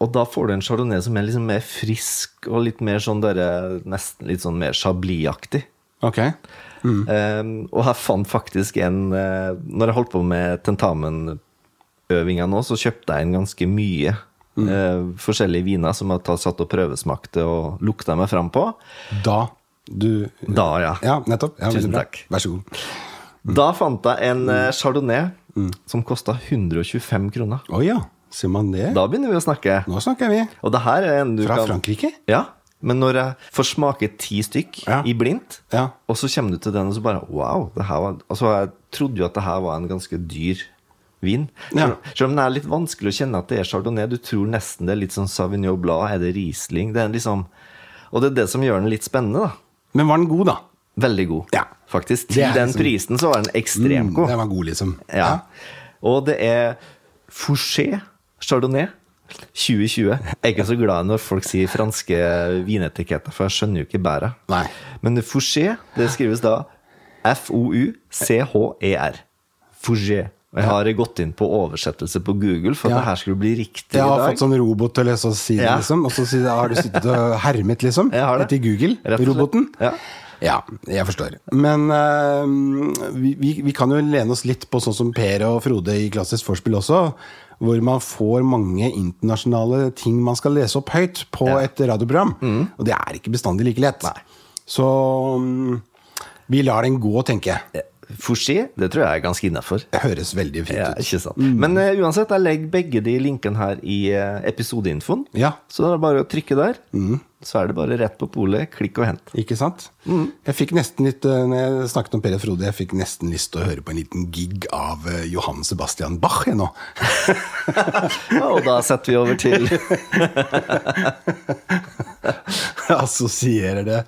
B: Og da får du en chardonnay som er liksom mer frisk og litt mer sånn derre Nesten litt sånn mer chablis-aktig.
A: Ok. Mm.
B: Eh, og jeg fant faktisk en eh, Når jeg holdt på med tentamenøvinga nå, så kjøpte jeg en ganske mye.
A: Mm.
B: eh, forskjellige viner som jeg tatt, satt og prøvesmakte og lukta meg fram på.
A: Da du
B: Da, ja.
A: Ja, Mm. nettopp. Ja,
B: Tusen
A: veldig bra.
B: takk.
A: Vær så god.
B: Da fant jeg en
A: Mm.
B: eh, chardonnay som kosta 125 kroner.
A: Å ja. Ser man det?
B: Da begynner vi å snakke.
A: Nå snakker vi.
B: Og det her er en du
A: Mm. Fra
B: kan
A: Frankrike?
B: Ja. Men når jeg får smake ti stykk
A: Ja.
B: i blindt,
A: Ja.
B: og så kommer du til den og så bare Wow! Det her var, altså, jeg trodde jo at det her var en ganske dyr vin.
A: Ja.
B: Selv om den er litt vanskelig å kjenne at det er chardonnay. Du tror nesten det er litt sånn Sauvignon Blad, er det Riesling? Det er liksom, og det er det som gjør den litt spennende, da.
A: Men var den god, da?
B: Veldig god,
A: Ja. Det
B: faktisk. Til
A: er
B: den
A: liksom-
B: prisen så var den ekstremt god.
A: Den var god, liksom.
B: Ja. Og det er Fouché Chardonnay 2020. Jeg er ikke så glad når folk sier franske vinetiketter, for jeg skjønner jo ikke bæra.
A: Nei.
B: Men Fouché, det skrives da F-O-U-C-H-E-R. E Fouché. Og jeg har gått inn på oversettelse på Google for at
A: Ja.
B: det her skulle bli riktig
A: Jeg
B: i
A: har
B: dag.
A: fått sånn robot til å lese og si det,
B: Ja.
A: liksom. Og så sier jeg, har du sittet og hermet, liksom?
B: Jeg har det.
A: Etter Google?
B: Rett og slett.
A: Roboten?
B: Ja.
A: Ja, jeg forstår. Men eh, vi, vi, vi kan jo lene oss litt på sånn som Per og Frode i Klassisk Vorspiel også. Hvor man får mange internasjonale ting man skal lese opp høyt på et radioprogram. Og det er ikke bestandig like lett. Så mm, vi lar den gå, tenker jeg.
B: Eh, Fouché, det tror jeg er ganske innafor.
A: Det høres veldig fint
B: Ja,
A: ut.
B: ikke sant. Men eh, uansett, jeg legger begge de linkene her i eh, episodeinfoen.
A: Ja.
B: Så det er bare å trykke der.
A: Mm.
B: Så er det bare rett på polet, klikk og hent.
A: Ikke sant? Jeg fikk nesten litt eh, Når jeg snakket om Per og Frode, jeg fikk nesten lyst til å høre på en liten gig av eh, Johan Sebastian Bach jeg nå.
B: Ja, og da setter vi over til
A: Jeg Assosierer det.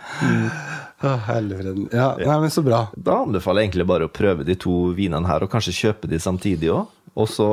A: Å, helvete. Mm. Ja, nei, men så bra.
B: Da anbefaler jeg egentlig bare å prøve de to vinene her, og kanskje kjøpe de samtidig òg. Og så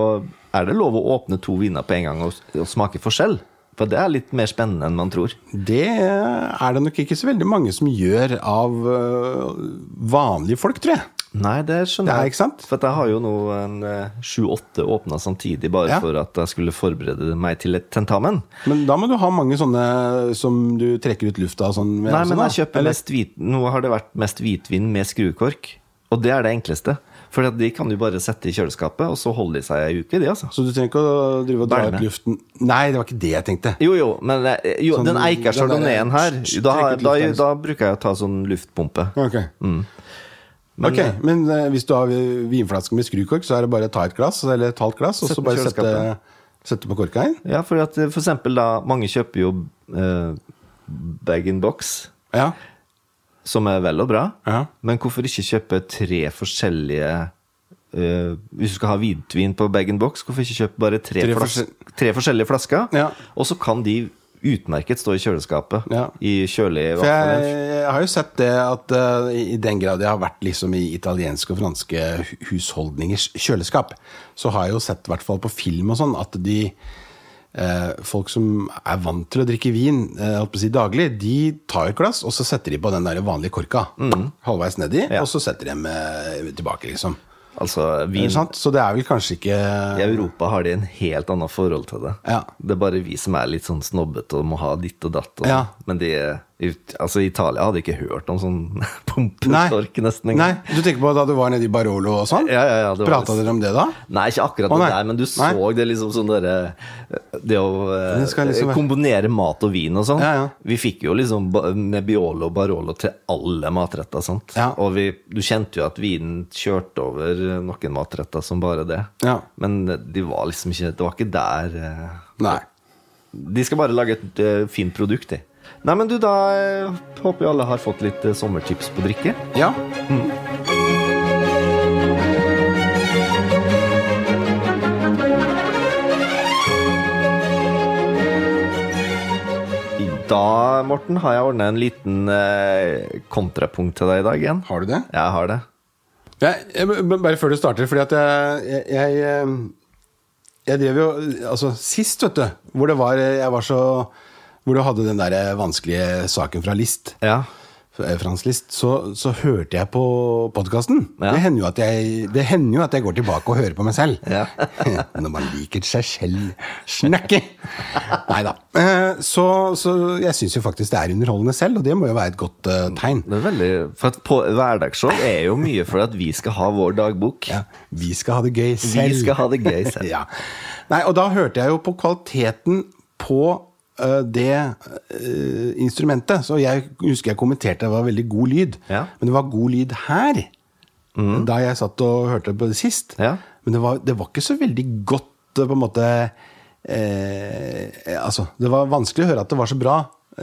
B: er det lov å åpne to viner på en gang og, og smake forskjell. For det er litt mer spennende enn man tror.
A: Det er det nok ikke så veldig mange som gjør av eh, vanlige folk, tror jeg.
B: Nei, det skjønner
A: Ja,
B: jeg.
A: ikke sant?
B: For at jeg har jo nå en eh, sju-åtte åpna samtidig, bare
A: Ja.
B: for at jeg skulle forberede meg til et tentamen.
A: Men da må du ha mange sånne som du trekker ut lufta og sånn med.
B: Nei,
A: også,
B: men
A: da.
B: jeg kjøper
A: Eller-
B: mest hvit, Nå har det vært mest hvitvin med skrukork. Og det er det enkleste. For at de kan du bare sette i kjøleskapet, og så holder de seg ei uke, de, altså.
A: Så du trenger ikke å drive og dra
B: Bælme.
A: ut luften Nei, det var ikke det jeg tenkte.
B: Jo, jo, men eh, jo,
A: Sånn-
B: den eika
A: den der-
B: chardonnayen her da,
A: Trekk ut
B: da,
A: lufta, liksom.
B: da bruker jeg å ta sånn luftpumpe.
A: Ok. Mm. Men, ok, men eh, hvis du har eh, vinflaske med skrukork, så er det bare å ta et glass, eller et halvt glass, og
B: Sett
A: så
B: den i
A: bare sette,
B: kjøleskapet.
A: sette på korka inn?
B: Ja, for at eh, for eksempel da Mange kjøper jo eh, bag in box,
A: Ja.
B: som er vel og bra.
A: Ja.
B: Men hvorfor ikke kjøpe tre forskjellige eh, Hvis du skal ha hvitvin på bag in box, hvorfor ikke kjøpe bare tre,
A: Tre
B: flas tre forskjellige flasker?
A: Ja.
B: Og så kan de utmerket stå i kjøleskapet.
A: Ja.
B: I kjølig
A: For jeg, jeg har jo sett det at eh, i i den grad jeg har vært liksom i italienske og franske hu- husholdningers kjøleskap, så har jeg jo sett, i hvert fall på film og sånn, at de eh, Folk som er vant til å drikke vin eh, holdt på å si daglig, de tar et glass, og så setter de på den der vanlige korka. Halvveis nedi,
B: Mm. Ja.
A: og så setter de eh, tilbake, liksom.
B: Altså, vin
A: Ikke sant? Så det er vel kanskje ikke
B: I Europa har de en helt annet forhold til det.
A: Ja.
B: Det er bare vi som er litt sånn snobbete og må ha ditt og datt. Og, sånn.
A: Ja.
B: Men de, ut- altså Italia hadde ikke hørt om sånn
A: Nei.
B: pumpetork nesten
A: Nei,
B: engang.
A: Du tenker på da du var nede i Barolo og sånn?
B: Ja, ja, ja, det var
A: Prata
B: litt-
A: dere om det da?
B: Nei, ikke
A: Å,
B: akkurat det
A: nei.
B: der, men du så
A: Nei.
B: det liksom sånn derre Det å eh,
A: Det skal liksom være-
B: kombinere mat og vin og sånn.
A: Ja, ja.
B: Vi fikk jo liksom ba- Nebbiolo og Barolo til alle matretter, sant.
A: Ja.
B: Og vi, du kjente jo at vinen kjørte over eh, noen matretter som bare det.
A: Ja.
B: Men de var liksom ikke Det var ikke der eh,
A: Nei.
B: De skal bare lage et eh, fint produkt, de. Nei, men du, da eh, håper vi alle har fått litt eh, sommertips på drikke.
A: Ja.
B: Morten, har jeg ordna en liten eh, kontrapunkt til deg i dag igjen.
A: Har du det?
B: Jeg har det.
A: Jeg, jeg, men bare før du starter, fordi at jeg Jeg, jeg, eh, jeg drev jo Altså, sist, vet du, hvor det var eh, Jeg var så Hvor du hadde den der eh, vanskelige saken fra List.
B: Ja.
A: eh, Frans List, så, så hørte jeg på podkasten.
B: Ja.
A: Det, hender jo at jeg- det hender jo at jeg går tilbake og hører på meg selv.
B: Ja.
A: Når man liker seg selv snakke! Nei da. Så, så jeg syns jo faktisk det er underholdende selv, og det må jo være et godt eh, tegn.
B: Det er veldig, for at på Hverdagsshow er jo mye for at vi skal ha vår dagbok.
A: Ja. Vi skal ha det gøy selv.
B: skal ha det gøy selv.
A: ja. Nei, og da hørte jeg jo på kvaliteten på øh, det øh, instrumentet. Så jeg husker jeg kommenterte det var veldig god lyd.
B: Ja. Mm.
A: Men det var god lyd her, da jeg satt og hørte på det sist.
B: Ja.
A: Men det var, det var ikke så veldig godt, øh, på en måte eh, Altså, det var vanskelig å høre at det var så bra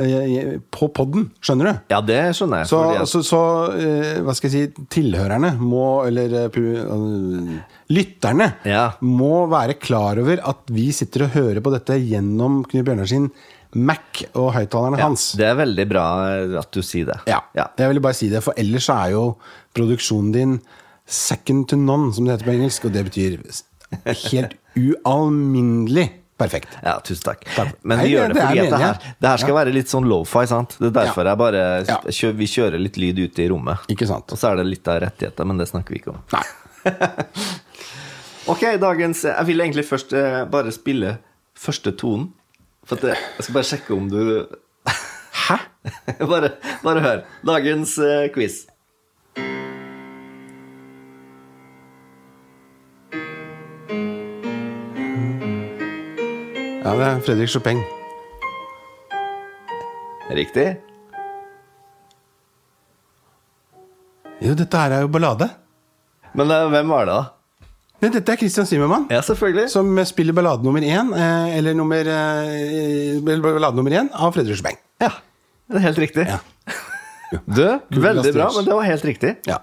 A: eh, på poden, skjønner du?
B: Ja, det skjønner jeg.
A: Så,
B: fordi at-
A: så, så eh, hva skal jeg si, tilhørerne må, eller eh, pu- eh, lytterne,
B: Ja.
A: må være klar over at vi sitter og hører på dette gjennom Knut Bjørnar sin Mac og høyttalerne hans.
B: Det er veldig bra at du sier det.
A: Ja, jeg ville bare si det, for ellers så er jo produksjonen din second to none, som det heter på engelsk, og det betyr s- helt ualminnelig perfekt.
B: Ja, tusen takk.
A: Takk.
B: Men
A: Nei,
B: vi gjør det,
A: det er
B: fordi at det
A: meningen.
B: her, det her skal være litt sånn lofi, sant? Det er derfor
A: Ja.
B: jeg bare
A: Ja.
B: kjø- Vi kjører litt lyd ute i rommet.
A: Ikke sant?
B: Og så er det litt av rettigheter, men det snakker vi ikke om.
A: Nei.
B: Ok, dagens Jeg vil egentlig først eh, bare spille første tonen. For at det, jeg skal bare sjekke om du
A: Hæ?
B: bare, bare hør. Dagens eh, quiz.
A: Ja, det er Fredrik Chopin.
B: Riktig?
A: Jo, dette her er jo ballade.
B: Men eh, hvem var det, da?
A: Nei, dette er Christian Zimmermann.
B: Ja, selvfølgelig.
A: Som spiller ballade nummer én, eh, eller nummer, eh, eller ballade nummer én av Fredrik Schbeng.
B: Ja, det er helt riktig.
A: Ja.
B: Du, veldig bra,
A: Astrid.
B: men det var helt riktig.
A: Ja.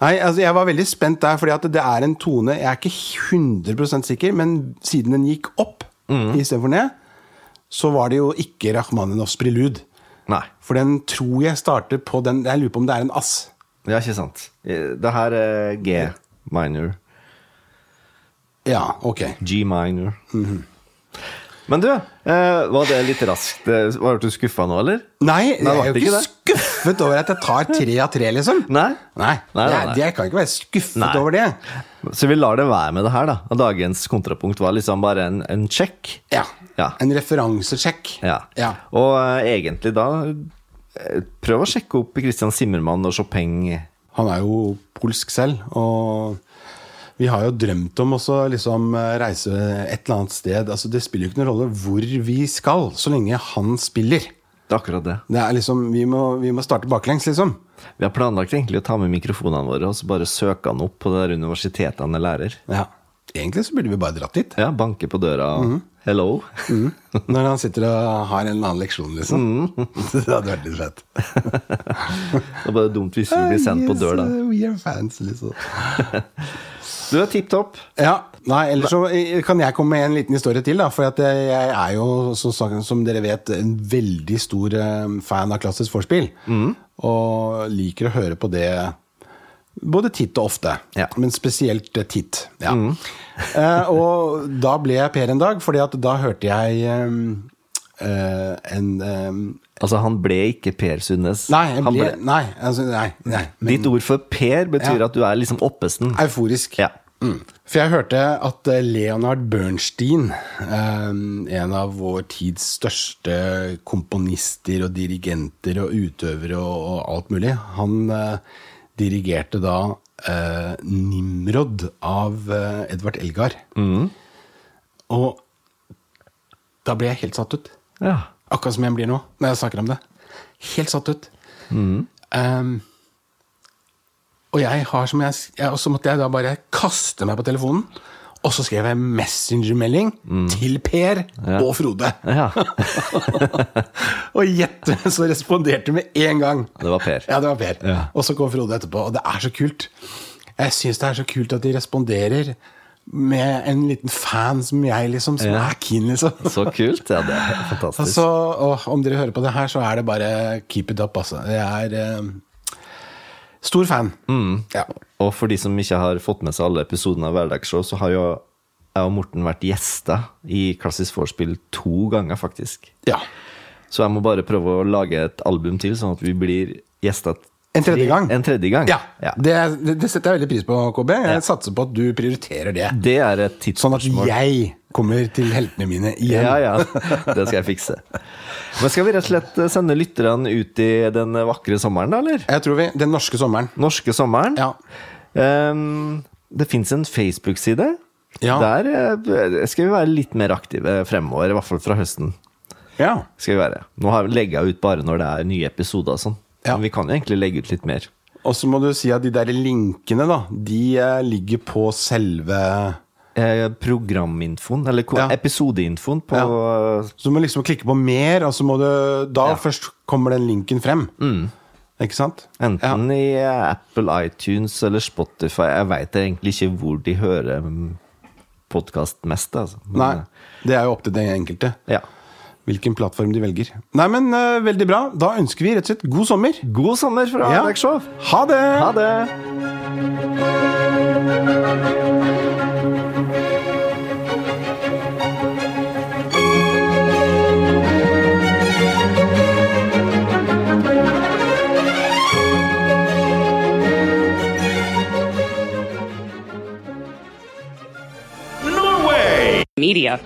A: Nei, altså Jeg var veldig spent der, fordi at det er en tone Jeg er ikke 100 sikker, men siden den gikk opp
B: Mhm.
A: istedenfor ned, så var det jo ikke Rakhmaninovs prelud.
B: Nei.
A: For den tror jeg starter på den Jeg lurer på om det er en ass.
B: Ja, ikke sant. Eh, Det her er G minor.
A: Ja, ok.
B: G minor. Men du, eh, var det litt raskt? eh, Var du skuffa nå, eller?
A: Nei, jeg
B: Nei,
A: er jo
B: det
A: ikke
B: var ikke
A: skuffet over at jeg tar tre av tre, liksom.
B: Nei?
A: Nei,
B: Nei, nei,
A: jeg-
B: nei.
A: Jeg kan ikke være skuffet
B: Nei.
A: over det.
B: Så vi lar det være med det her, da. Og dagens kontrapunkt var liksom bare en, en check.
A: Ja.
B: Ja.
A: En referansesjekk.
B: Ja.
A: Ja.
B: Og eh, egentlig da eh, Prøv å sjekke opp Christian Simmermann og Chopin.
A: Han er jo polsk selv, og vi har jo drømt om også liksom eh, reise et eller annet sted. Altså, det spiller jo ikke noen rolle hvor vi skal, så lenge han spiller.
B: Det er akkurat det.
A: Det er liksom, Vi må, vi må starte baklengs, liksom.
B: Vi har planlagt egentlig å ta med mikrofonene våre og så bare søke han opp på det der universitetet han er lærer.
A: Ja. Egentlig så burde vi bare dratt dit.
B: Ja, banke på døra og
A: Mhm.
B: Hello.
A: Når han sitter og har en eller annen leksjon, liksom. det hadde vært litt fett.
B: Det er bare dumt hvis vi blir sendt på dør, da.
A: Yes, we are fans, liksom.
B: Du er tipp topp.
A: Ja, nei, ellers så eh, kan jeg komme med en liten historie til, da. For at eh, jeg er jo, som, sagt- som dere vet, en veldig stor eh, fan av klassisk vorspiel. Og liker å høre på det både titt og ofte.
B: Ja.
A: Men spesielt eh, titt. Ja. eh, og da ble jeg per en dag, fordi at da hørte jeg eh, eh, en eh,
B: Altså, han ble ikke Per Sundnes.
A: Nei, jeg
B: Han
A: ble,
B: ble-
A: nei, altså, nei, nei.
B: Ditt ord for Per betyr
A: Ja.
B: at du er liksom oppesen.
A: Euforisk.
B: Ja.
A: Mm. For jeg hørte at eh, Leonard Bernstein, eh, en av vår tids største komponister og dirigenter og utøvere og, og alt mulig, han eh, dirigerte da eh, Nimrod av eh, Edvard Elgar. Og da ble jeg helt satt ut.
B: ja.
A: Akkurat som jeg blir nå, når jeg snakker om det. Helt satt ut.
B: Mm.
A: Um, og jeg har som jeg, jeg Og så måtte jeg da bare kaste meg på telefonen. Og så skrev jeg messengermelding til Per og Frode.
B: Mm. Ja.
A: og gjett hvem som responderte med en gang!
B: Det var Per.
A: Ja, det var Per.
B: Ja.
A: Og så kom Frode etterpå, og det er så kult. Jeg syns det er så kult at de responderer med en liten fan som jeg, liksom, som
B: Ja.
A: er keen, liksom.
B: Så kult. Ja, det er fantastisk.
A: Altså, og om dere hører på det her, så er det bare keep it up, altså. Jeg er eh, stor fan. Ja.
B: Og for de som ikke har fått med seg alle episodene av Hverdagsshow, så har jo jeg og Morten vært gjester i Klassisk vorspiel to ganger, faktisk.
A: ja.
B: Så jeg må bare prøve å lage et album til, sånn at vi blir gjester
A: En tredje gang.
B: En tredje gang.
A: ja. Det, det, det setter jeg veldig pris på, KB. Jeg satser på at du prioriterer det.
B: Det er et
A: Sånn at
B: tidsspørsmål.
A: jeg kommer til heltene mine igjen.
B: Ja, ja. Det skal jeg fikse. Men skal vi rett og slett sende lytterne ut i den vakre sommeren, da, eller?
A: Jeg tror vi, Den norske sommeren.
B: Norske sommeren.
A: Ja.
B: Ehm, det fins en Facebook-side.
A: Ja.
B: Der eh, skal vi være litt mer aktive fremover, i hvert fall fra høsten.
A: ja.
B: Skal vi være. Nå har jeg legga ut bare når det er nye episoder og sånn.
A: Ja.
B: Men vi kan jo egentlig legge ut litt mer.
A: Og så må du si at de der linkene, da, de eh, ligger på selve
B: Eh, programinfoen, eller ko-
A: Ja.
B: episodeinfoen, på
A: Så du må liksom klikke på mer, og så må du Da
B: Ja.
A: først kommer den linken frem. Ikke sant?
B: Enten i eh, Apple, iTunes eller Spotify. Jeg veit egentlig ikke hvor de hører podkast mest. Altså. Men,
A: Nei. Det er jo opp til den enkelte
B: eh, Ja.
A: hvilken plattform de velger. Nei, men eh, veldig bra. Da ønsker vi rett og slett god sommer.
B: God sommer fra
A: Ja.
B: Dagshow!
A: Ha det!
B: Ha det!
C: media.